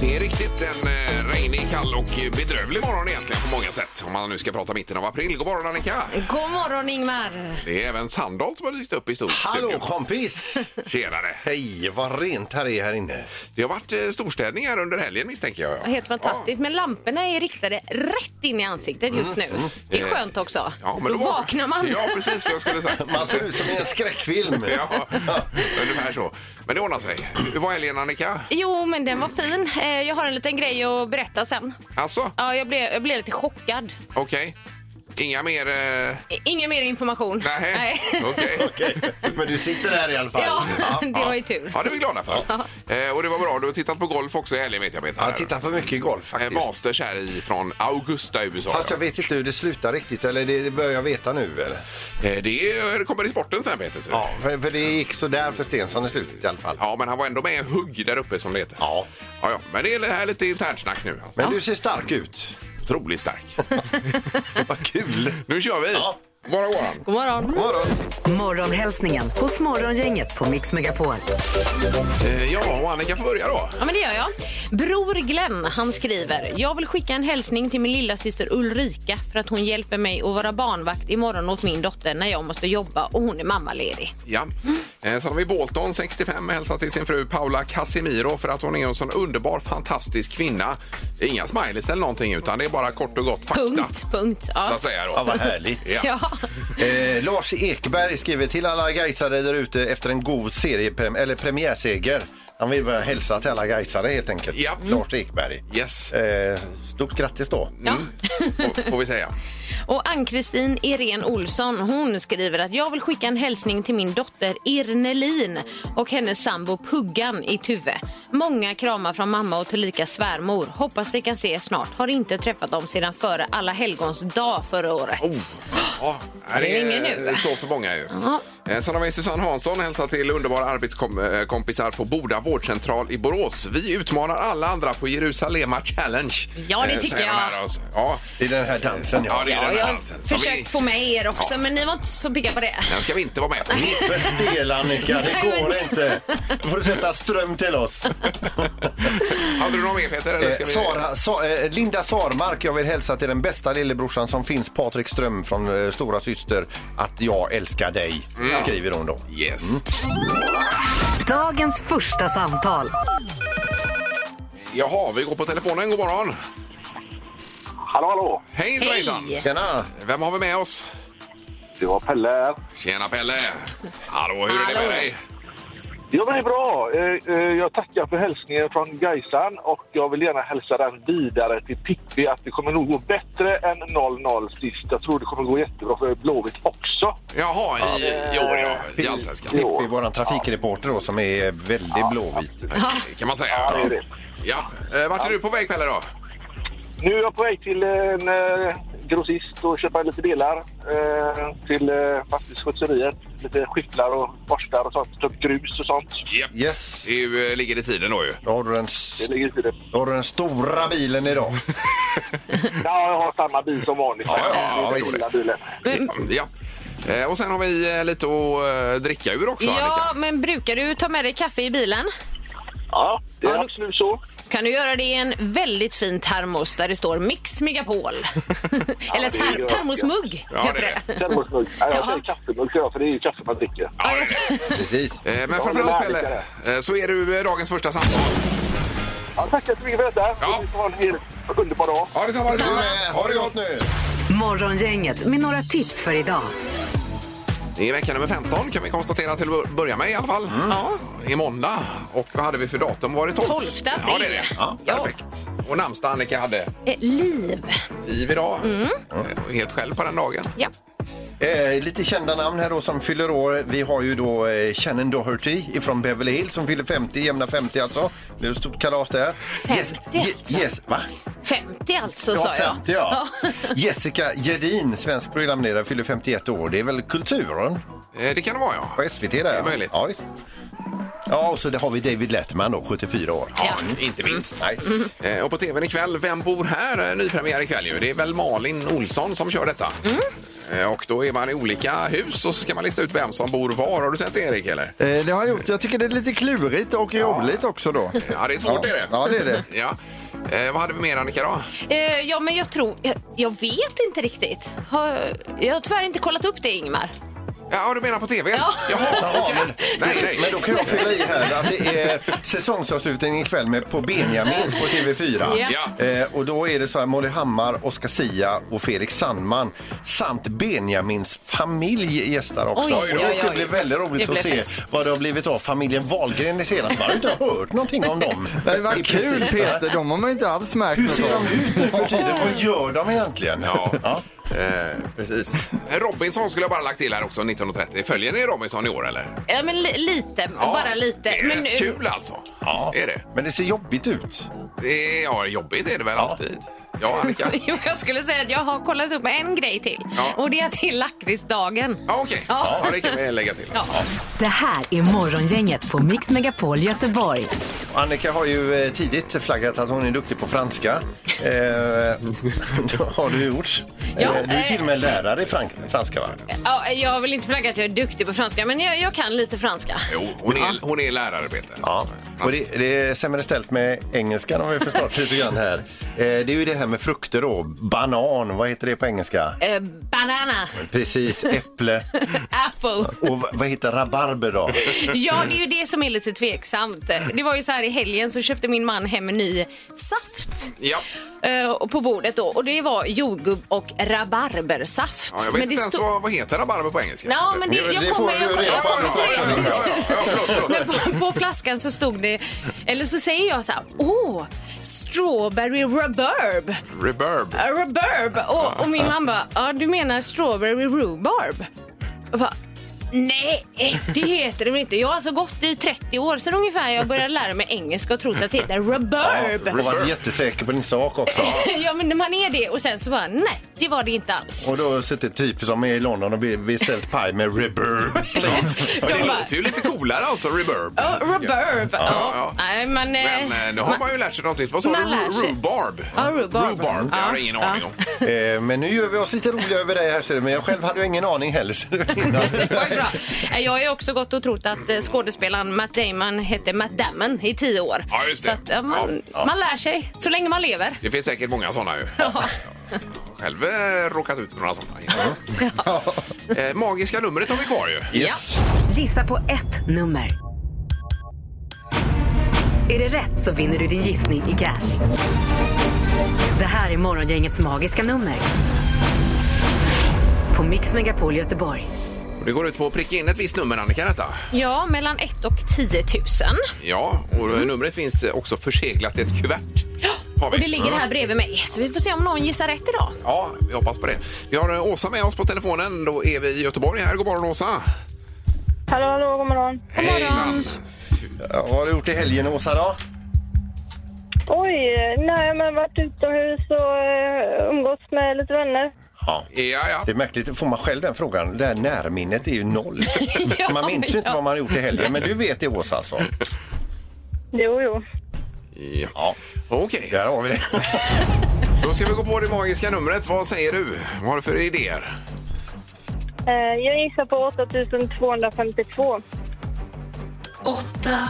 Det är riktigt en eh, regnig, kall och bedrövlig morgon egentligen på många sätt. Om man nu ska prata mitten av april. God morgon Annika! God morgon Ingmar! Det är även Sandholt som har dykt upp i stor Hallå studio. kompis! Tjenare! Hej, vad rent här är här inne. Det har varit eh, storstädning här under helgen misstänker jag. Helt fantastiskt. Men lamporna är riktade rätt in i ansiktet just nu. Det är skönt också. Mm. Ja, men då var- vaknar man. Ja, precis vad jag skulle säga. Man ser ut som i en skräckfilm. Ja, ungefär så. Men det ordnar sig. Hur var helgen Annika? Jo, men den var fin. Eh, Jag har en liten grej att berätta sen. Alltså, Ja, jag blev, jag blev lite chockad. okej. Inga mer... Eh... I- Ingen mer information. Nej, okej. Men du sitter här i alla fall. Ja, det Ja. var ju tur. Ja, det är vi glada för. Eh, och det var bra. Du har tittat på golf också i helgen vet jag Peter. Jag tittar för mycket golf Eh, faktiskt. Masters här i från Augusta i USA. Fast ja. jag vet inte hur det slutar riktigt, eller det det börjar jag veta nu. Eller? Eh, Det, är, det kommer i sporten sen Peter. Ja, Ja. för, för det gick så där för Stensson i slutet i alla fall. ja, men han var ändå med i hugg där uppe som det heter. Ja. Ja, ja. Men det är det här lite internt snack nu. Alltså. Men du ser stark ut. Otroligt stark. Vad kul! Nu kör vi! Ja. Bara våran. God morgon. Morgon. Morgonhälsningen hos Morgongänget på Mix Megapol. Eh, Ja, och Annika får börja då. Ja, men det gör jag. Bror Glenn, han skriver. Jag vill skicka en hälsning till min lilla syster Ulrika för att hon hjälper mig att vara barnvakt imorgon åt min dotter när jag måste jobba och hon är mammaledig. Ja. Eh, Sen har vi Bolton, 65, hälsar till sin fru Paula Casimiro för att hon är en sån underbar, fantastisk kvinna. Det är Inga smileys eller någonting, utan det är bara kort och gott fakta. Punkt, punkt. Så Ja. att säga då. Ja, vad härligt. Ja. Eh, Lars Ekberg skriver till alla gaisare där ute efter en god serieprem- eller premiärseger. Han vill bara hälsa till alla gaisare helt enkelt. Ja. Lars Ekberg. Yes, Mm. Eh, stort grattis då. Ja. får- får vi säga. Och Ann-Kristin Irene Olsson hon skriver att jag vill skicka en hälsning till min dotter Irnelin och hennes sambo Puggan i Tuve. Många kramar från mamma och tillika svärmor. Hoppas vi kan se snart. Har inte träffat dem sedan före alla helgons dag förra året. Oh, Ja, det ringer nu. Så för många ju. Ja. Eh, Sen har vi Susanne Hansson hälsar till underbara arbetskompisar på Boda vårdcentral i Borås. Vi utmanar alla andra på Jerusalema Challenge. Ja, det eh, tycker säger de jag. här alltså. Ja, Det är den här dansen ja, det är Ja, den jag här har dansen. som försökt vi, få med er också, Ja. men ni var inte så pigga på det. Den ska vi inte vara med på. För stel Annika, det Nej, men- går inte. Då får du sätta ström till oss. Hade du någon mer Peter? Eller ska Eh, vi... Sara, Sa, eh, Linda Sarmark, jag vill hälsa till den bästa lillebrorsan som finns, Patrik Ström från eh, Stora Syster, att jag älskar dig, skriver hon då. Yes. Dagens första samtal. Jaha, vi går på telefonen. God morgon. Hallå, hallå! Hej svejsan! Hej! Tjena! Vem har vi med oss? Det var Pelle här. Tjena Pelle! Hallå, hur är det Hallå. med dig? Ja, men det är bra. Eh, eh, Jag tackar för hälsningen från Gaisan och jag vill gärna hälsa den vidare till Pippi att det kommer nog gå bättre än 0-0 sist. Jag tror det kommer gå jättebra för Blåvitt också. Jaha, i, i år ja. I Allsvenskan. Jo. Det är vår trafikreporter då som är väldigt blåvit. Kan man säga. Ja, det är det. Ja. Eh, Vart är du på väg Pelle då? Nu är jag på väg till en eh, grossist och köpa lite delar eh, till eh, fastighetsskötseriet. Lite skyfflar och borstar och sånt. Typ grus och sånt. Japp. Yes, Det är ju, eh, ligger i tiden då ju. Mm. då har du den, s- Det ligger i det. då har du den stora bilen idag. Ja, jag har samma bil som vanligt. Ja, ja, ja, Det är visst. lilla bilen. Ja. Eh, Och sen har vi eh, lite att eh, dricka ur också Ja, Annika. men brukar du ta med dig kaffe i bilen? Ja, det Ja, är du- absolut så. kan du göra det i en väldigt fin termos där det står Mix Megapol. Eller det gör ter- jag. termosmugg Ja, heter det det. är Termosmugg. Nej, jag Ja. säger kaffemugg, för jag, för det är ju kaffe man dricker. Ja, jag ser- Precis. Eh, Men Ja, framförallt det är Pelle, eh, så är du eh, dagens första samtal. Ja, tack så mycket för detta. Ja. Ni får ha en helt underbar dag. Ja, detsamma. Du med, ha det gott nu! Morgongänget med några tips för idag. Det är vecka nummer 15 kan vi konstatera till att börja med i alla fall. Mm. Ja. I måndag. Och vad hade vi för datum? Var det 12? 12 april. Ja, det är det. Ja, Ja. perfekt. Och namnsdag Annika hade Eh, Liv. liv idag. Mm. Eh, Helt själv på den dagen. Ja. Eh, lite kända namn här då som fyller år. Vi har ju då eh, Shannon Doherty ifrån Beverly Hills som fyller 50, jämna 50 alltså. Det är ett stort kalas där. 50 Je- alltså? yes, va? 50 alltså, Ja, sa jag. 50 ja. Jessica Gedin, svensk programledare, fyller 51 år. Det är väl kulturen Eh, Det kan det vara ja. på SVT där? är möjligt. Ja, visst. Ja, och så det har vi David Letterman då, 74 år. Ja, inte minst. Nej. Mm. Eh, Och på tvn ikväll, Vem bor här? Eh, Nypremiär ikväll ju. Det är väl Malin Olsson som kör detta. Mm. Eh, Och då är man i olika hus och så ska man lista ut vem som bor var. Har du sett det, Erik eller? Eh, Det har jag gjort. Jag tycker det är lite klurigt och roligt också då. Ja, det är svårt är det. Ja, det är det. Ja. Eh, vad hade vi mer Annika då? Eh, ja, men jag tror... Jag, jag vet inte riktigt. Har, jag har tyvärr inte kollat upp det, Ingmar. Ja, du menar på tv? Ja. Jaha, okej. Nej, nej. Men då kan jag fylla i här att det är säsongsavslutning ikväll med På Benjamin på TV4. Ja. Eh, och då är det så här Molly Hammar, Oscar Sia och Felix Sandman samt Benjamins familj gästar också. Oj, och oj, det skulle oj. bli väldigt roligt Det att blev se fest. vad det har blivit av familjen Wahlgren det senaste. Man har inte hört någonting om dem. Men I vad princip, kul va? Peter, de har man ju inte alls märkt Hur ser något av. de ut nu för tiden? Vad gör de egentligen? Ja. Eh, precis. Robinson skulle jag bara lagt till här också, 1930. Följer ni Robinson i år eller? Ja, men li, lite. bara lite. Det är men, rätt eh, kul alltså. Ja. Är det? Men det ser jobbigt ut. det är, ja, jobbigt är det väl alltid? Ja, Annika? Jo, jag skulle säga att jag har kollat upp en grej till. Ja. Och det är att det är lakritsdagen. Ja, okej. Ja. Ja, det kan vi lägga till. Ja. Det här är Morgongänget på Mix Megapol Göteborg. Annika har ju eh, tidigt flaggat att hon är duktig på franska. Eh, det har du gjort. Ja, Eh, du är eh. till och med lärare i frank- franska va? Ja, jag vill inte flagga att jag är duktig på franska, men jag, jag kan lite franska. Jo, hon är, hon är lärare, Peter. Ja. Och det, det är sämre ställt med engelskan om vi förstått lite grann här. Eh, det är ju det här med frukter då. Banan, vad heter det på engelska? Eh, banana, Precis, äpple. apple. Och v- vad heter rabarber då? Ja, det är ju det som är lite tveksamt. Det var ju så här i helgen så köpte min man hem en ny saft Ja. eh, på bordet då. Och det var jordgubb och rabarbersaft. Ja, jag vet det inte ens stod- vad, vad heter rabarber på engelska. Ja, men det, Det- jag det kommer... får Jag, du jag, reda på kommer Ja, ja, till ja, ja, förlåt, förlåt. Men på, på flaskan så stod det, eller så säger jag så här, åh, strawberry reverb. Reverb. A reverb. Och, och min mamma bara, ja du menar strawberry rhubarb? Jag bara, Nej, det heter det väl inte. Jag har alltså gått i 30 år sedan ungefär jag började lära mig engelska och trott att det heter Och reverb. var jättesäker på din sak också. Ja, men man är det och sen så bara, nej, det var det inte alls. Och då sitter typ som är i London och be- beställt paj med reverb. Men De det bara, låter ju lite coolare alltså, reverb. "Ja, reverb. Ja, ja. Nej, men... eh, Men eh, nu har man ju lärt sig något nytt. Vad sa du? Man lär sig. Rhubarb? Ja, rhubarb. Rhubarb, det har jag Ja, ingen ja. aning om. Eh, men nu gör vi oss lite roliga över dig här, ser du. men jag själv hade ju ingen aning heller. ser du. Det var ju bra. Eh, Jag har ju också gått och trott att eh, skådespelaren Matt Damon hette Matt Damon i tio år. Ja, just det. Så att eh, man, man lär sig så länge man lever. Det finns säkert många sådana ju. Jag har Själv eh, råkat ut för några sådana. Eh, magiska numret har vi kvar ju. Yes. Gissa på ett nummer. Är det rätt så vinner du din gissning i cash. Det här är Morgongängets magiska nummer. På Mix Megapol Göteborg. Och Det går ut på att pricka in ett visst nummer, Annika. Detta. Ja, mellan 1 och 10 000. Ja, och numret finns eh, också förseglat i ett kuvert. Har vi. Mm. Och det ligger här bredvid mig. Så vi får se om någon gissar rätt idag. Ja, vi hoppas på det. Vi har eh, Åsa med oss på telefonen. Då är vi i Göteborg här. God morgon Åsa! Hallå, hallå, god morgon. Hejsan! Ja, vad har du gjort i helgen, Åsa? Då? Oj, nej men varit utomhus och eh, umgåtts med lite vänner. Ja. Ja, ja. Det är märkligt, får man själv den frågan? Det här närminnet är ju noll. Ja, Man minns ju inte ja. vad man har gjort i helgen, men du vet det, Åsa. Alltså. Jo, jo. ja. Okej, Där har vi det. då ska vi gå på det magiska numret. Vad säger du? Vad har du för idéer? Eh, jag gissar på 8252. åtta,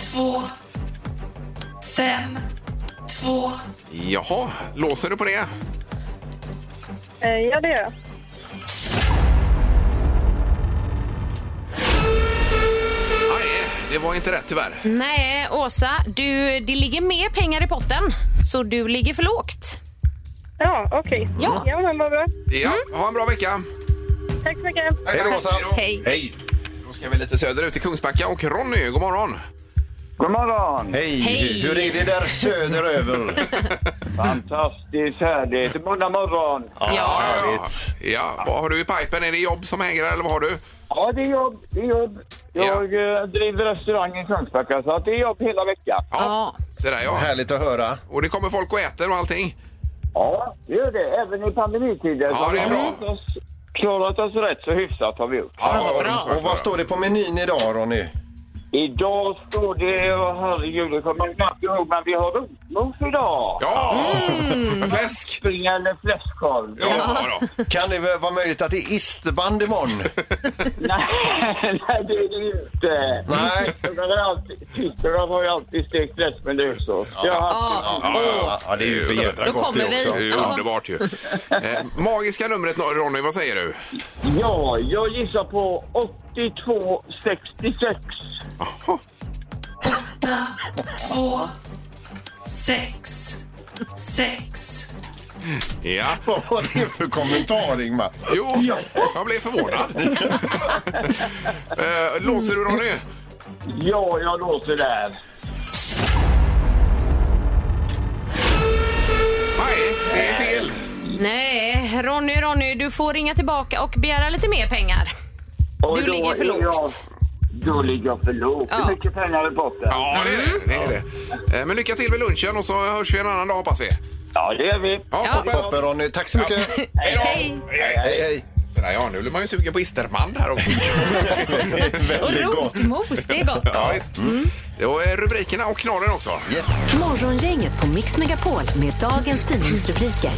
två, fem, två. Jaha, låser du på det? Eh, ja, det gör jag. Nej, det var inte rätt tyvärr. Nej, Åsa, du, det ligger mer pengar i potten. Så du ligger för lågt. Ja, okej. Ja. ja, men vad bra. Ja, Mm. ha en bra vecka! Tack så mycket. Hej då, Åsa. Hej. Hej. Då ska vi lite söderut till Kungsbacka och Ronny, god morgon! God morgon! Hej. Hej. Hur är det där söderöver? Fantastiskt härligt. Måndag morgon. Ja. Härligt. Ja, vad har du i pipen? Är det jobb som hänger eller vad har du? Ja, det är jobb. Det är jobb. Jag eh, driver restaurang i Kungsbacka, så att det är jobb hela veckan. Ja. Så där ja. Härligt att höra. Och det kommer folk och äter och allting? Ja, det gör det. Även i pandemitider. Ja, Så det är vi bra. har klarat oss- Klarat oss rätt så hyfsat har vi gjort. Ja, bra. skönt att Och vad höra. står det på menyn idag, Ronny? Idag står det, och herregud, jag kommer knappt ihåg, men vi har rotmos idag. Ja! Fläsk! Kyckling eller fläskkorv. Mm. Ja, ja. då. Kan det väl vara möjligt att det är isterband imorgon? Nej, nej, det är det ju inte. Nej. Jag har alltid- Tyskland har ju alltid stekt fläsk med löksås. Jag har haft Ja, Ja, ja, ja, det är ju för jävla Då gott. kommer vi. Det är ju Ja. underbart ju. Eh, magiska numret Ronny, vad säger du? det. Ja, jag gissar på 8266. åtta, två, sex, sex. Ja. Vad var det för kommentar, Ingmar? Jo, jag blev förvånad. eh, låser du Ronny? Ja, jag låter där. Nej, det är fel. Nej, Ronny, Ronny, du får ringa tillbaka och begära lite mer pengar. Och Du då ligger för är lågt. Jag, då ligger jag för lågt. Ja. Hur mycket pengar är botten? Ja. Ja, det är det. det, är det. Eh, men lycka till med lunchen och så hörs vi en annan dag hoppas vi. det gör vi. Ja, Ja. toppen. Toppen, Ronny. Tack så mycket. Hej då! Hej. Hej, Hej, hej. hej. Så där, ja, nu blir man ju sugen på isterband här också. Och rotmos, det är gott. ja, visst. Det var eh, rubrikerna och knorren också. Morgongänget på Mix Megapol med dagens tidningsrubriker.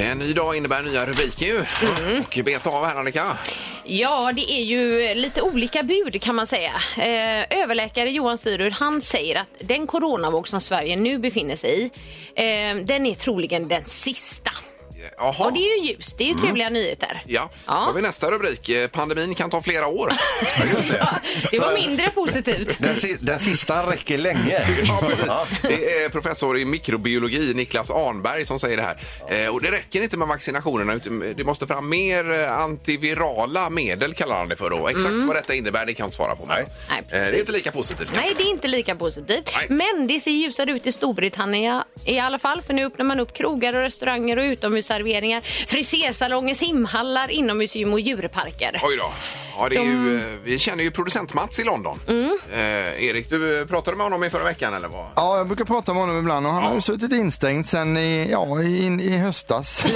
En Eh, ny dag innebär nya rubriker ju. Mm. Och beta av här Annika. Eh, Ja, det är ju lite olika bud kan man säga. Eh, överläkare Johan Styrud, han säger att den coronavåg som Sverige nu befinner sig i, eh, den är troligen den sista. Jaha. Och det är ju ljust, det är ju trevliga nyheter. Mm. Ja, då har ja. vi nästa rubrik. Eh, Pandemin kan ta flera år. Det var mindre positivt. Den, si- den sista räcker länge. Ja, precis. Ja. Det är professor i mikrobiologi, Niklas Arnberg, som säger det här. Eh, Och det räcker inte med vaccinationerna, utan det måste fram mer eh, antivirala medel, kallar han det för då. Exakt vad detta innebär, det kan jag inte svara på. Nej. Mm. Nej, det är inte lika positivt. Nej, det är inte lika positivt. Nej. Men det ser ljusare ut i Storbritannien i alla fall. För nu öppnar man upp krogar och restauranger och utomhusserveringar, frisersalonger, simhallar, inomhusgym och djurparker. Oj då. Ja, det är ju, eh, vi känner ju producent Mats i London. Mm. Eh, Erik, du eh, pratade med honom i förra veckan eller vad? Ja, jag brukar prata med honom ibland och han har ju suttit instängd sen i, ja, in, i höstas.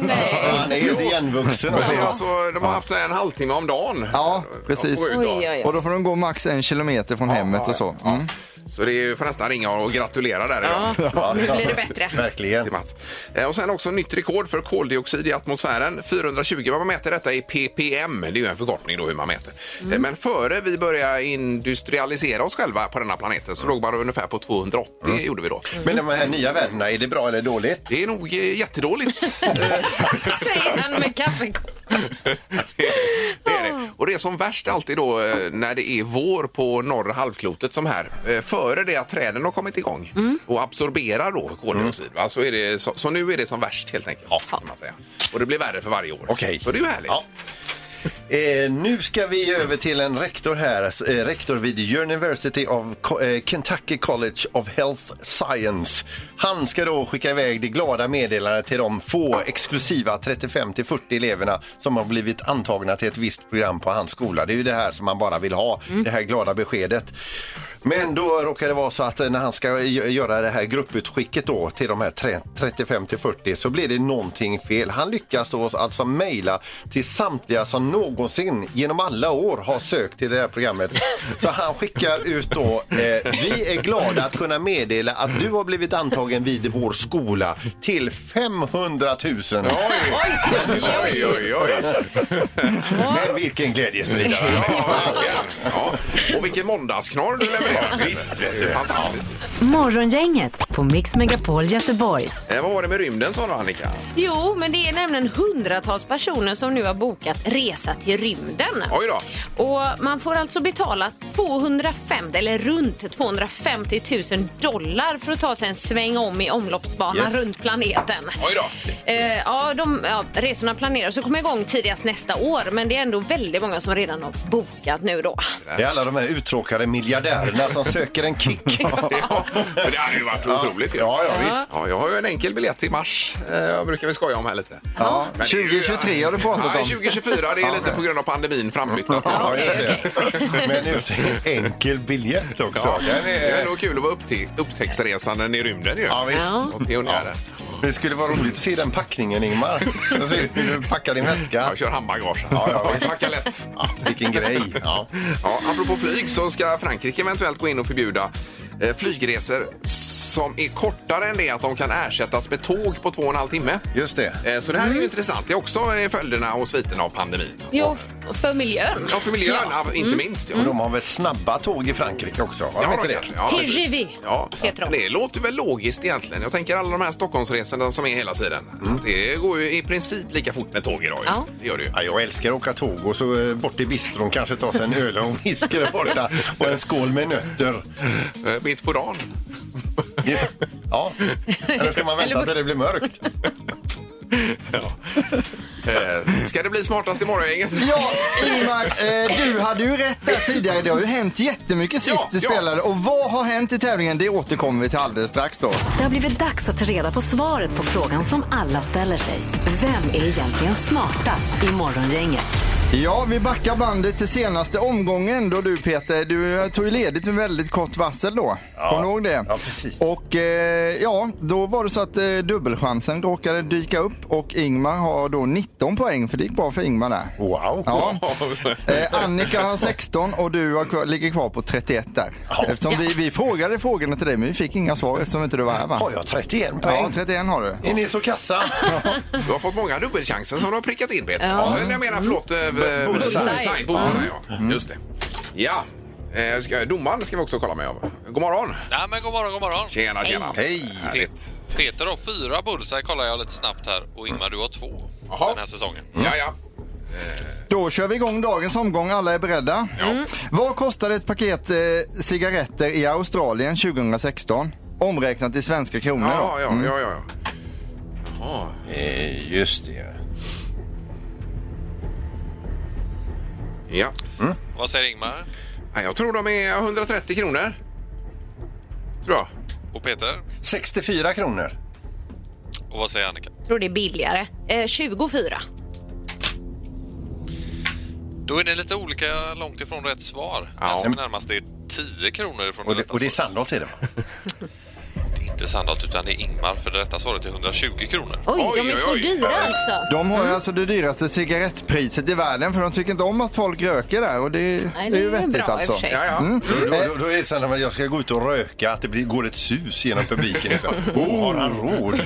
Nej. Han är helt igenvuxen. Men det är också. alltså, de har haft så här en halvtimme om dagen. Ja, precis. Att gå ut då. Oj, oj, Och oj. då får de gå max en kilometer från hemmet och så. Mm. Så det är ju för nästan ringa och gratulera där idag. Ja, nu blir det bättre. Mm. Verkligen. till Mats. Eh, Och sen också nytt rekord för koldioxid i atmosfären. 420, vad man mäter detta i ppm. Det är ju en förkortning då hur man mäter. Eh, Mm. Men före vi började industrialisera oss själva på denna planeten så låg man ungefär på 280 Mm. gjorde vi då. Men de här nya vännerna, är det bra eller dåligt? Det är nog eh, jättedåligt. Säger han med kaffekopp. det, det är det. Och det är som värst alltid då eh, när det är vår på norra halvklotet som här. Eh, Före det att träden har kommit igång och absorberar då koldioxid. Va? Så, är det, så, så nu är det som värst helt enkelt. Kan man säga. Och det blir värre för varje år. Okej. Så det är ju härligt. Ja. Eh, nu ska vi över till en rektor här, eh, rektor vid University of Co- eh, Kentucky College of Health Science. Han ska då skicka iväg det glada meddelandet till de få exklusiva 35 till 40 eleverna som har blivit antagna till ett visst program på hans skola. Det är ju det här som man bara vill ha, det här glada beskedet. Men då råkar det vara så att eh, när han ska gö- göra det här grupputskicket då till de här tre- 35 till 40 så blir det någonting fel. Han lyckas då alltså mejla till samtliga som någonsin genom alla år har sökt till det här programmet. Så han skickar ut då, eh, vi är glada att kunna meddela att du har blivit antagen vid vår skola till 500 000. Oj, oj, oj. Men vilken glädjespridare! Ja, verkligen. ja. Och vilken måndagsknorr du levererar. Visst, vet du. Fantastiskt. Morgongänget på Mix Megapol Göteborg. Eh, vad var det med rymden sa du Annika? Jo, men det är nämligen hundratals personer som nu har bokat resa till rymden. Oj då. Och man får alltså betala 250 eller runt 250 000 dollar för att ta sig en sväng om i omloppsbanan Yes. runt planeten. Oj då. Eh, ja, de, ja, resorna planeras att komma igång tidigast nästa år men det är ändå väldigt många som redan har bokat nu då. Det är alla de här uttråkade miljardärerna kvinna som söker en kick. Ja, men det hade ju varit otroligt. ju. Ja, ja, visst. Ja, jag har ju en enkel biljett till mars. Eh, brukar vi skoja om här lite. Ja, Men det är ju- 2023 har du pratat Nej, om. 2024. Det är lite på grund av pandemin framflyttat. Ja, just det. Men just det, enkel biljett också. Ja, Den det är är... nog kul att vara uppte- upptäcktsresanden i rymden ju. Ja, visst. Ja. Och pionjären. Det skulle vara roligt att se den packningen, Ingmar. Jag ser hur du packar din väska. Jag kör handbagage. Ja, ja, visst. Packa lätt. Ja, vilken grej. Ja. Ja, apropå flyg så ska Frankrike eventuellt gå in och förbjuda eh, flygresor som är kortare än det att de kan ersättas med tåg på två och en halv timme. Just det. Eh, Så det här är ju intressant. Det är också eh, följderna och sviterna av pandemin. Jo, f- för miljön. Ja, för miljön, ja, inte minst. Ja. De har väl snabba tåg i Frankrike också? Har de Ja, inte de Mm. det? gör. Ja, precis. TGV Ja, heter de. det låter väl logiskt egentligen. Jag tänker alla de här Stockholmsresorna som är hela tiden. Det går ju i princip lika fort med tåg idag. ju. Ja. Det gör det ju. Ja, jag älskar att åka tåg och så eh, bort till bistron kanske ta sig en öl och en whisky där borta och en skål med nötter. Eh, Mitt på dagen. Ja, eller ska man vänta till det blir mörkt? Eh, Ska det bli smartast i morgongänget? Ja, Ingmar, eh, du hade ju rätt där tidigare. Det har ju hänt jättemycket sist Ja, du ja. spelade. Och vad har hänt i tävlingen? Det återkommer vi till alldeles strax då. Det har blivit dags att ta reda på svaret på frågan som alla ställer sig. Vem är egentligen smartast i Morgongänget? Ja, vi backar bandet till senaste omgången då du Peter, du tog ju ledigt med väldigt kort varsel då. Kommer du ihåg det? Ja, precis. Och eh, ja, då var det så att eh, dubbelchansen råkade dyka upp och Ingmar har då 19 poäng för det gick bra för Ingmar där. Wow! Ja. Eh, Annika har 16 och du har, kvar- ligger kvar på 31 där. Eftersom vi, vi frågade frågorna till dig men vi fick inga svar eftersom inte du var här va? Har jag 31 Ja, poäng? 31 har du. Är ni så kassa? Du har fått många dubbelchanser som du har prickat in Peter. Ja. Eller jag menar förlåt. eh, Mm. bullseye. Bullseye. Mm. Bullseye, ja. Just det. Ja. Eh, ska- Domaren ska vi också kolla med om. God morgon. Nej, men god morgon, god morgon. Tjena, tjena. Hej. Härligt. Peter har fyra bullseye kollar jag lite snabbt här och Ingmar du har två Jaha. den här säsongen. Mm. Ja, ja. Då kör vi igång dagens omgång. Alla är beredda. Mm. Vad kostade ett paket eh, cigaretter i Australien 2016? Omräknat i svenska kronor. Ja, då. ja, Mm. ja, ja. ja. Eh, Just det. ja. Vad säger Ingmar? Nej, Jag tror de är 130 kronor. Tror jag. Och Peter? 64 kronor. Och vad säger Annika? Jag tror det är billigare. Eh, 24. Då är ni lite olika långt ifrån rätt svar. Den som är närmast är 10 kronor ifrån Och det, rätta och det är svaret. Sandholt i det va? Det är inte Sandholt utan det är Ingmar för det rätta svaret är 120 kronor. Oj, Oj, de är oj, så oj. dyra alltså. De Mm. har ju alltså det dyraste cigarettpriset i världen för de tycker inte om att folk röker där och det, Nej, det är ju bra vettigt i och alltså. Eh, för sig. Ja, Mm. ja. Då, då, då är det så att jag ska gå ut och röka, att det blir, går ett sus genom publiken. Så, oh, har han råd?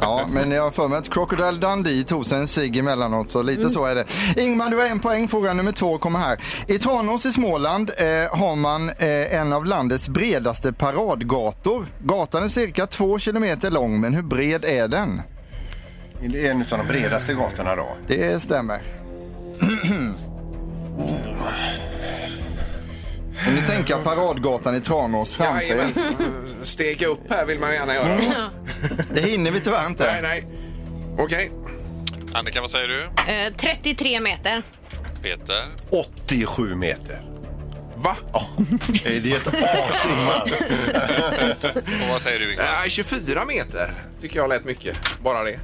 Ja, men jag har för mig att Crocodile Dundee tog sig en cigg emellanåt, så lite så är det. Ingmar, du har en poäng. Fråga nummer två kommer här. I Tranås i Småland eh, har man eh, en av landets bredaste paradgator. Gatan är cirka två kilometer lång, men hur bred är den? Det är en av de bredaste gatorna då. Det stämmer. Om ni tänker paradgatan i Tranås framför er. Mm. Jajamän. Stega upp här vill man gärna göra. Det hinner vi tyvärr inte. Nej, nej. Okej. Annika, vad säger du? Eh, 33 meter. Peter? 87 meter. Va? Eh, Det är ett as, Ingmar. Och vad säger du Ingmar? Nej, 24 Eh, meter tycker jag lät mycket. Bara det.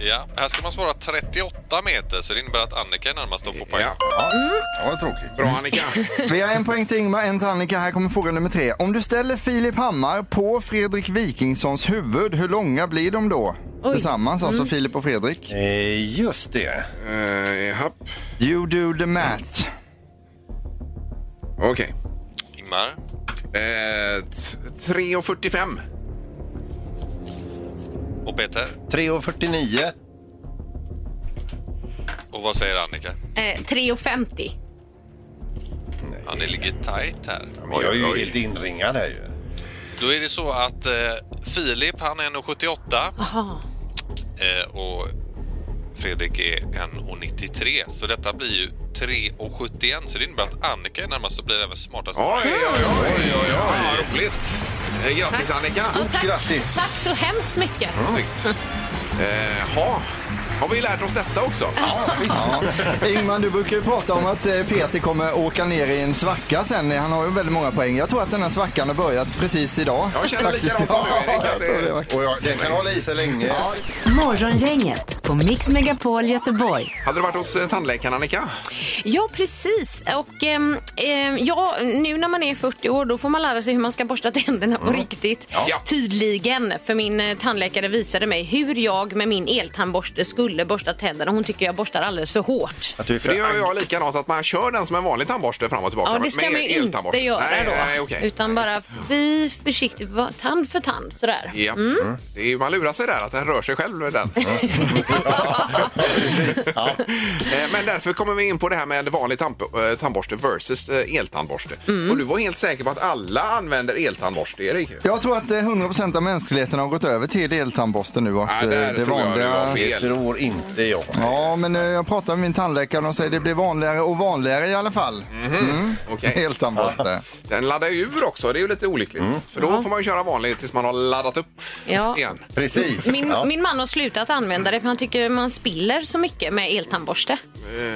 Ja, här ska man svara 38 meter så det innebär att Annika är närmast och får poäng. Ja. Ja, vad tråkigt. Bra Annika. Vi har en poäng till Ingmar, en till Annika. Här kommer fråga nummer tre. Om du ställer Filip Hammar på Fredrik Wikingssons huvud, hur långa blir de då? Tillsammans, alltså Filip och Fredrik. Eh, just det. Eh, japp. You do the math. Okej. Ingmar? Eh, t- 3,45. Och Peter? 3,49. Och vad säger Annika? Eh, 3,50. Ja, ni ligger tight här. Jag är ju Oj, oj. helt inringad här ju. Då är det så att eh, Filip, han är 1,78 Jaha. eh, och Fredrik är 1,93. Så detta blir ju 3,71. Så det innebär att Annika är närmast och blir även smartast. Mm. Oj, oj, oj, oj, oj, oj. roligt. Eh, Grattis Annika! Ja, tack. grattis. Tack så hemskt mycket. Snyggt. Eh, ha. Har vi lärt oss detta också? Ingman, du brukar ju prata om att eh, Peter kommer åka ner i en svacka sen. Han har ju väldigt många poäng. Jag tror att den här svackan har börjat precis idag. Jag känner likadant som du Erik. att det- Och jag, den kan hålla i sig länge. Morgongänget på Mix Megapol Göteborg. Hade du varit hos eh, tandläkaren Annika? Ja, precis. Och ehm, ehm, ja, nu när man är 40 år då får man lära sig hur man ska borsta tänderna på riktigt. Mm. Ja. Tydligen, för min eh, tandläkare visade mig hur jag med min eltandborste skulle borsta tänderna. Hon tycker jag borstar alldeles för hårt. Att du är För det gör för jag likadant, att man kör den som en vanlig tandborste fram och tillbaka. Ja, det men ska man ju el- inte eltandborste. göra nej, då. Nej, okej. Utan bara fy försiktigt, va- tand för tand. Sådär. Ja. Mm. Det är, ju- man lurar sig där att den rör sig själv. Den. Eh, Men därför kommer vi in på det här med vanlig tamp- eh, tandborste versus eh, eltandborste. Mm. Och du var helt säker på att alla använder eltandborste, Erik? Jag tror att eh, 100% av mänskligheten har gått över till eltandborsten nu och att Ja, eh, där det tror jag du har vanliga... fel. jag tror inte jag. Ja, men eh, jag pratade med min tandläkare och de säger det blir vanligare och vanligare i alla fall. Mm. Okej. Eltandborste. Den laddar ju ur också, det är ju lite olyckligt. För då får man ju köra vanlig tills man har laddat upp Ja. igen. Precis. Min, ja. min man har slutat använda det för han tycker man spiller så mycket med eltandborste.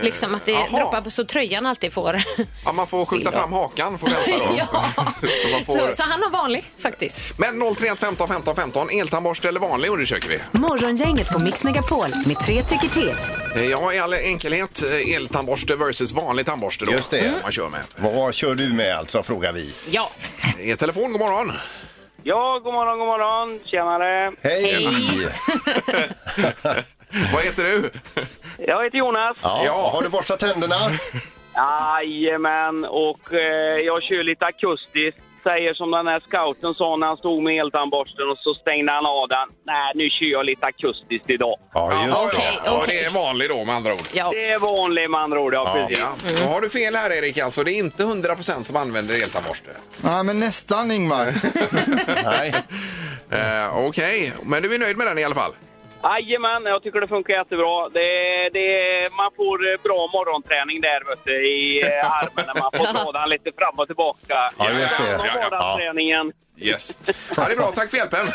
liksom att det Eh, jaha. droppar på så tröjan alltid får. Ja, man får skjuta fram hakan får vi hälsa då. ja. Så man får- så, så han har vanlig faktiskt. Men 031 15 15 15, eltandborste eller vanlig undersöker vi. Morgongänget på Mix Megapol med tre tycker till. Eh, Ja, i all enkelhet, eh, eltandborste versus vanlig tandborste då. Just det. Mm. Man kör med. Vad kör du med alltså, frågar vi. Ja. I telefon, god morgon. Ja, god morgon, god morgon. Tjenare. Hej! Hej. Vad heter du? Jag heter Jonas. Ja, Ja. Har du borstat tänderna? Jajamän, och eh, jag kör lite akustiskt. Säger som den här scouten sa när han stod med eltandborsten och så stängde han av den. Nej, nu kör jag lite akustiskt idag. Ja, just det. okej, ja, okej. det är vanlig då med andra ord. Ja. Mm. Det är vanligt med andra ord, ja, precis. Ja. Då har du fel här Erik alltså. Det är inte 100% som använder eltandborste. Nej, men nästan Ingmar. Nej. Eh, Okej, men du är nöjd med den i alla fall? Jajamän, jag tycker det funkar jättebra. Det, det, man får eh, bra morgonträning där vet du, i eh, armen när man får dra den lite fram och tillbaka. Ja, just det. Den och Ja, ja. vardagsträningen. Yes. Ja, det är bra. Tack för hjälpen.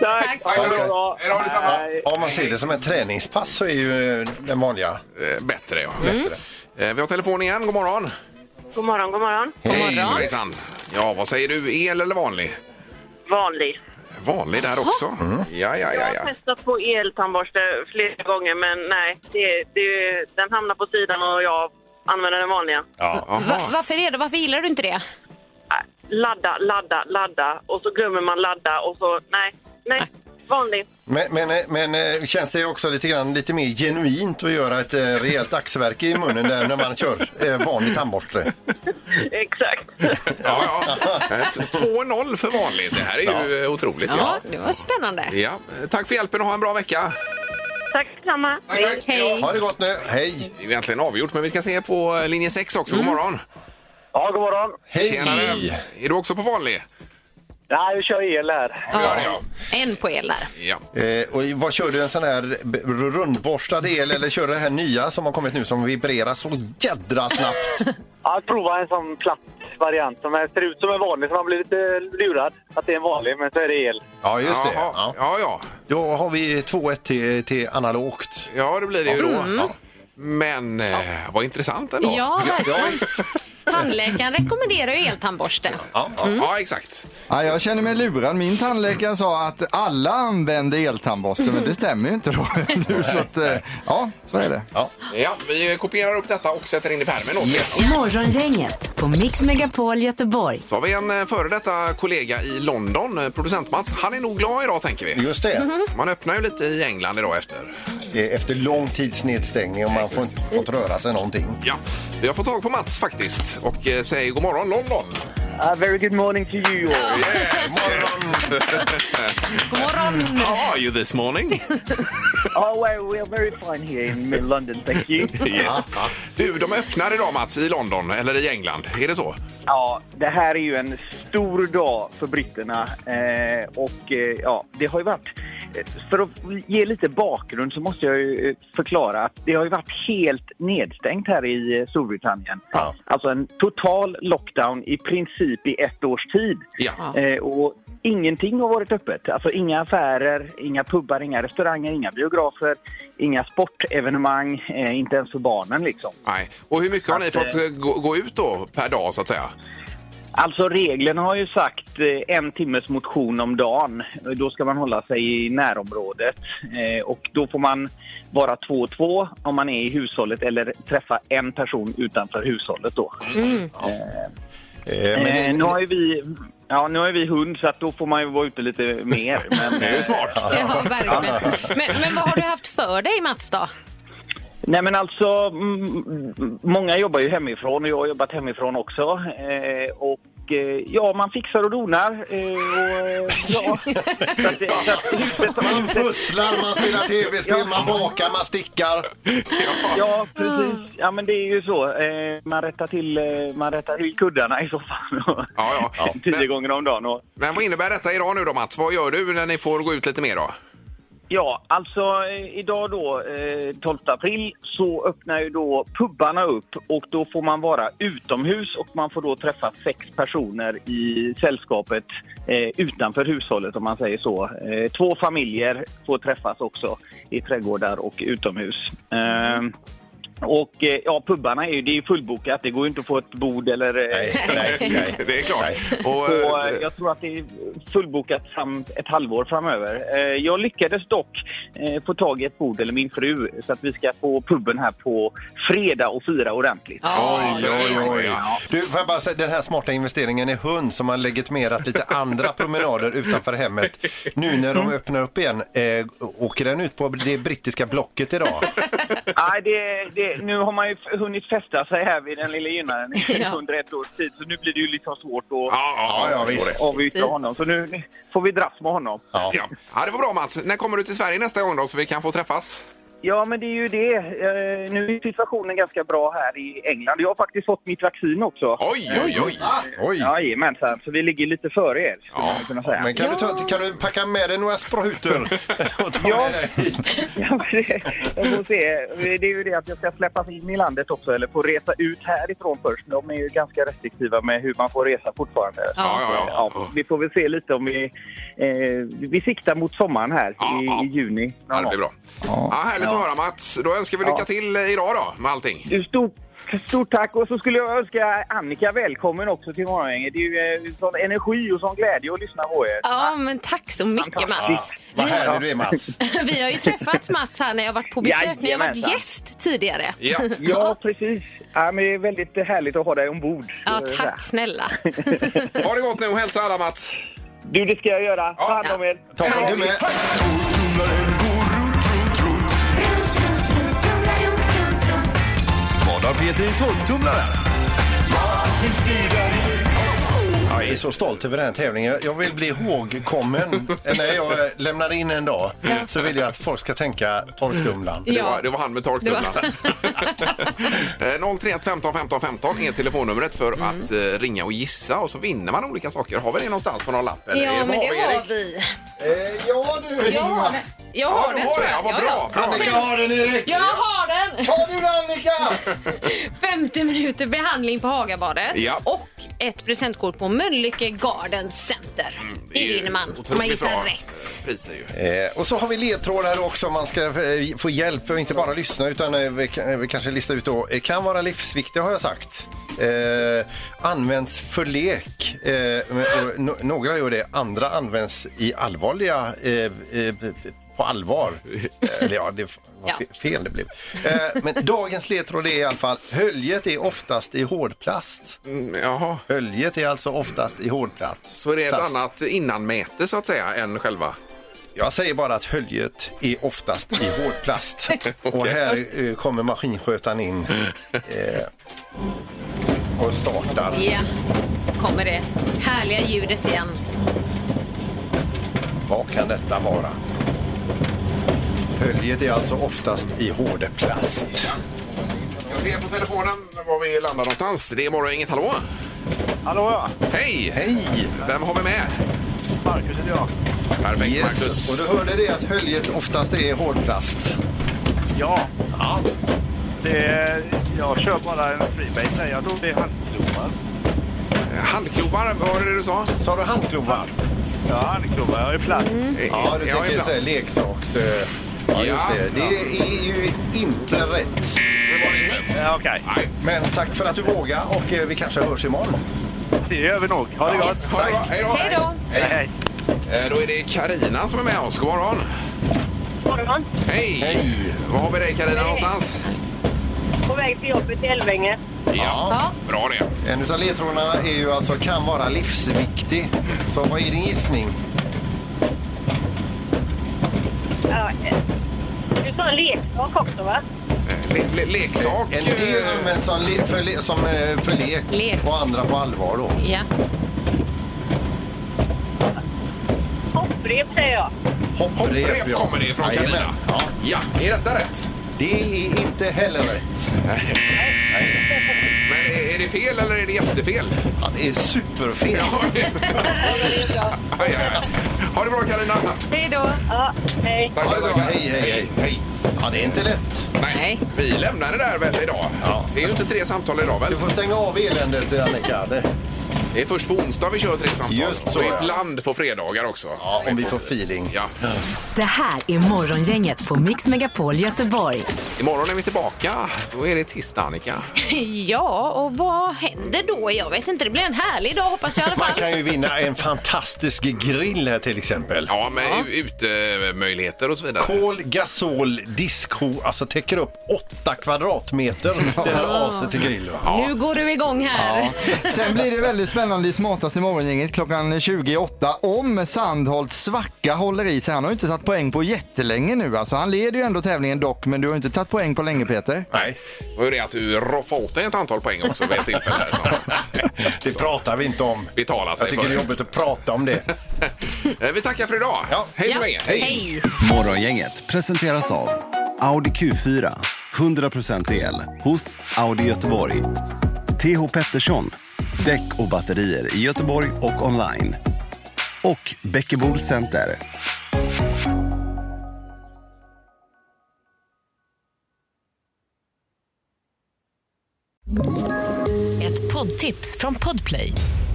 Tack! Tack. Ha en bra dag. Hej då, detsamma. Hej. Om man ser det som ett träningspass så är ju eh, den vanliga. Eh, bättre, ja. Mm. Bättre. Eh, vi har telefon igen. God morgon. God morgon, god morgon. Hej svejsan. Ja, vad säger du? El eller vanlig? Vanlig. Vanlig där också. Mm. Ja, ja, ja. Jag har ja. testat på eltandborste flera gånger, men nej. Det, det, den hamnar på sidan och jag använder den vanliga. Va, Jaha. varför är det? Varför gillar du inte det? Nej, Ladda, ladda, ladda. Och så glömmer man ladda och så... Nej, nej. Vanlig. Men, men, eh, men eh, känns det också lite grann lite mer genuint att göra ett eh, rejält axverk i munnen där när man kör eh, vanlig tandborste? Exakt. Ja, ja. Eh, 2-0 för vanligt. Det här är ju eh, otroligt. Ja. Ja, det var spännande. Ja. Eh, Tack för hjälpen och ha en bra vecka. Tack detsamma. Hej. Ha det gott nu. Hej! Det är ju egentligen avgjort, men vi ska se på eh, linje 6 också. Mm. God morgon. Ja, god morgon. Hej! Tjenare. Är du också på vanlig? Nej, vi kör el här. Ja. En på el där. Ja. Eh, och vad kör du en sån här b- rundborstad el eller kör du det här nya som har kommit nu som vibrerar så jädra snabbt? Ja, prova en sån platt variant som är- ser ut som en vanlig så man blir lite lurad att det är en vanlig men så är det el. Ja, just det. Jaha. Ja. Ja, ja. Då har vi 2-1 till, till analogt. Ja, det blir det ju då. Ja. Men eh, vad intressant ändå. Mm. Ja, verkligen. Tandläkaren rekommenderar ju eltandborste. Ja, Mm. ja. ja exakt. Ja, jag känner mig lurad. Min tandläkare sa att alla använder eltandborste, men det stämmer ju inte då. Nu, så att, eh, ja, så är det. Ja, vi kopierar upp detta och sätter in i pärmen åt er. Morgongänget på Mix Megapol Göteborg. Så har vi en eh, före detta kollega i London, eh, producent Mats. Han är nog glad idag tänker vi. Just det. Man öppnar ju lite i England idag efter. Det är Efter lång tids nedstängning och man får inte fått röra sig någonting. Ja. Vi har fått tag på Mats faktiskt och eh, säger god morgon London. Uh, very good morning to you all. Yes, morgon. God morgon. How are you this morning? Oh, well, we are very fine here in mid London, thank you. Yes. Du, de öppnar idag Mats i London eller i England. Är det så? Ja, det här är ju en stor dag för britterna eh, och eh, ja, det har ju varit för att ge lite bakgrund så måste jag ju eh, förklara att det har ju varit helt nedstängt här i eh, Storbritannien. Ja. Alltså en total lockdown i princip i ett års tid. Ja. Eh, och ingenting har varit öppet. Alltså inga affärer, inga pubbar, inga restauranger, inga biografer, inga sportevenemang, eh, inte ens för barnen liksom. Nej. Och hur mycket har ni Att, fått eh, eh, gå, gå ut då per dag så att säga? Alltså reglerna har ju sagt eh, en timmes motion om dagen. Då ska man hålla sig i närområdet Eh, och då får man vara två och två om man är i hushållet eller träffa en person utanför hushållet då. Eh, men Eh, nu har ju vi Ja, nu har ju vi hund så att då får man ju vara ute lite mer. Men, Det är ju eh, smart. Ja, verkligen. Men, men vad har du haft för dig Mats då? Nej men alltså, mm, mm, många jobbar ju hemifrån och jag har jobbat hemifrån också. Eh, och eh, ja, man fixar och donar. Eh, och, eh, ja. så att, det- så att huset, Man pusslar, man spelar tv-spel, man bakar, man stickar. ja, precis. Ja men det är ju så. Eh, man rättar till, eh, man rättar till kuddarna i soffan. och- Ja, ja. Tio Men, gånger om dagen. Och, men vad innebär detta idag nu då Mats? Vad gör du när ni får gå ut lite mer då? Ja, alltså eh, idag då, eh, 12 april, så öppnar ju då pubbarna upp och då får man vara utomhus och man får då träffa sex personer i sällskapet eh, utanför hushållet om man säger så. Eh, två familjer får träffas också i trädgårdar och utomhus. Eh, och eh, ja, pubbarna är ju, det är ju fullbokat, det går ju inte att få ett bord eller... eh, Det är klart. Och, och eh, eh, jag tror att det är fullbokat fram ett halvår framöver. Eh, Jag lyckades dock eh, få tag i ett bord, eller min fru, så att vi ska på puben här på fredag och fira ordentligt. Ja, Oj, det är- oj, oj. Du, får jag bara säga, den här smarta investeringen i hund som har legitimerat lite andra promenader utanför hemmet. Nu när Mm. de öppnar upp igen, eh, åker den ut på det brittiska blocket idag? Nej, det, det, nu har man ju f- hunnit fästa sig här vid den lilla gynnaren i Ja. 101 års tid, så nu blir det ju liksom svårt att Ja, ja, ja, visst. avyttra precis. honom. Så nu får vi dras med honom. Ja. ja, det var bra Mats. När kommer du till Sverige nästa gång då så vi kan få träffas? Ja, men det är ju det. Eh, Nu är situationen ganska bra här i England. Jag har faktiskt fått mitt vaccin också. Oj, oj, oj. Oj! Jajamensan, så vi ligger lite före er, skulle man kunna säga. Men kan, du ta, kan du packa med dig några sprutor? Och ta Ja. med dig hit? Ja, men det- jag får se. Det är ju det att jag ska släppas in i landet också, eller få resa ut härifrån först. De är ju ganska restriktiva med hur man får resa fortfarande. Ja, ja, ja. Ja, vi får väl se lite om vi... Eh, vi siktar mot sommaren här Ja, ja. i, i juni. Ja, det blir bra. Ja, härligt att höra Mats. Då önskar vi lycka till eh, idag då med allting. Stort, stort tack! Och så skulle jag önska Annika välkommen också till Morgongänget. Det är ju eh, sån energi och sån glädje att lyssna på er. Ja, men tack så mycket Mats. Vad härlig du är Mats! Vi har ju träffats Mats här när jag varit på besök, när jag varit Jajamensan. gäst tidigare. Ja. Ja, precis. Ja, men det är väldigt härligt att ha dig ombord. Ja, Så, tack snälla. Ha det gott nu och hälsa alla Mats. Du, det ska jag göra. Ta hand om er. Tommy, du med? Vad har Peter i torktumlaren? Jag är så stolt över den här tävlingen. Jag vill bli ihågkommen. När jag eh, lämnar in en dag så vill jag att folk ska tänka torktumlaren. Det, var, det var han med torktumlaren. Eh, 031 15 15 15 är telefonnumret för Mm. att eh, ringa och gissa och så vinner man olika saker. Har vi det någonstans på någon lapp? Eller? Ja, Har men det vi, Erik? har vi. Ja du! Jag har den. Jag Ja, har du den, har tror det. Ja, jag. vad Ja, bra. ja. bra. Annika har den Erik! Jag har den! Har du den Annika? 50 minuter behandling på Hagabadet Ja. och ett presentkort på Mölnlycke Garden Center. Det ju vinner man om man Mm, otroligt gissar bra, rätt. eh, Priser ju. Eh, och så har vi ledtrådar också om man ska eh, få hjälp och inte bara lyssna utan eh, vi, kan- vi kanske listar ut då. Eh, Kan vara livsviktig har jag sagt. Eh, används för lek. Eh, men, och, no, några gör det, andra används i allvarliga eh, eh, p- p- på allvar. Eh, Eller ja, det var Ja. fe- fel det blev. Eh, men dagens ledtråd är i alla fall höljet är oftast i hårdplast. Mm, jaha, Höljet är alltså oftast i hårdplast. så är det ett Plast. annat innanmäte så att säga än själva? Jag säger bara att höljet är oftast i hårdplast. Och här eh, kommer maskinskötaren in eh, och startar. Ja, kommer det härliga ljudet igen. Vad kan detta vara? Höljet är alltså oftast i hårdplast. Jag ser på telefonen var vi landar någonstans. Det är morgon, inget hallå? Hallå ja, Hej! Hej! Vem har vi med? Marcus heter jag. Perfekt, Yes. Marcus. Och du hörde det att höljet oftast är hårdplast. Ja. ja. Det, jag kör bara en freebase här. Jag tror det är handklovar. Handklovar, Eh, vad var det du sa? Sa du handklovar? Ja, handklovar. Jag är plast. Mm. Ja, du Jag är tänker så här plast. leksaks... eh, Ja, just Ja. det. Det är ju inte rätt. Ja, Eh, Okej, Men tack för att du vågade och eh, vi kanske hörs imorgon. det gör vi nog. Ha det gott. Yes. Ha det bra, hej då. Hej då! Hej, hej. Eh, Då är det Karina som är med oss. God morgon. God morgon. Hej! Var har vi dig Karina Hej. någonstans? På väg till jobbet i Älvänge. Ja. Bra det. En utav ledtrådarna är ju alltså kan vara livsviktig. Så vad är din gissning? Ja, eh, du sa en leksak också, va? Le le leksak. En del eh, används som, le för, le som eh, för lek, Lek. och andra på allvar då. Ja. Hopprep, säger jag. Hopprep ja. kommer det ifrån Jajamän. Karina. Ja. Ja, är detta rätt? Det är inte heller rätt. Men är är det fel eller är det jättefel? Ja, det är superfel. Ja, ja, ja. Ha det bra Karina. Hej då! Ja, hej. Tack, Ha det tack, bra. tack. Hej, hej, hej. hej. Ja, det är inte lätt. Nej, Nej. vi lämnar det där väl idag. Ja. Det är ju inte tre samtal idag väl? Du får stänga av eländet, Annika. Det, Det är först på onsdag vi kör tre samtal. Just Och så, ja. ibland på fredagar också. ja, om vi får feeling. Ja. Det här är Morgongänget på Mix Megapol Göteborg. Imorgon är vi tillbaka. Då är det tisdag Annika. Ja, och vad händer då? Jag vet inte, det blir en härlig dag hoppas jag i alla Man fall. kan ju vinna en fantastisk grill här till exempel. Ja, med ja. utemöjligheter och så vidare. Kol, gasol, disco, alltså täcker upp 8 kvadratmeter det här aset till grill. Va? Nu går du igång här. Sen blir det väldigt spännande i Smartaste morgongänget klockan 28 om Sandholt svacka håller i sig. Han har ju inte tagit poäng på jättelänge nu. Alltså, han leder ju ändå tävlingen dock, men du har ju inte tagit poäng på länge Peter. Nej, Det var ju det att du roffade åt dig ett antal poäng också vid ett tillfälle. Här, så. det pratar vi inte om. Betala sig Jag tycker det för. är jobbigt att prata om det. Eh, Vi tackar för idag. Ja. Hej så länge. Hej. Morgongänget presenteras av Audi Q4. 100% el hos Audi Göteborg. TH Pettersson. Däck och batterier i Göteborg och online. Och Bäckebol Center. Ett poddtips från Podplay.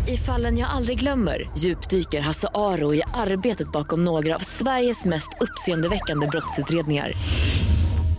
I fallen jag aldrig glömmer djupdyker Hasse Aro i arbetet bakom några av Sveriges mest uppseendeväckande brottsutredningar.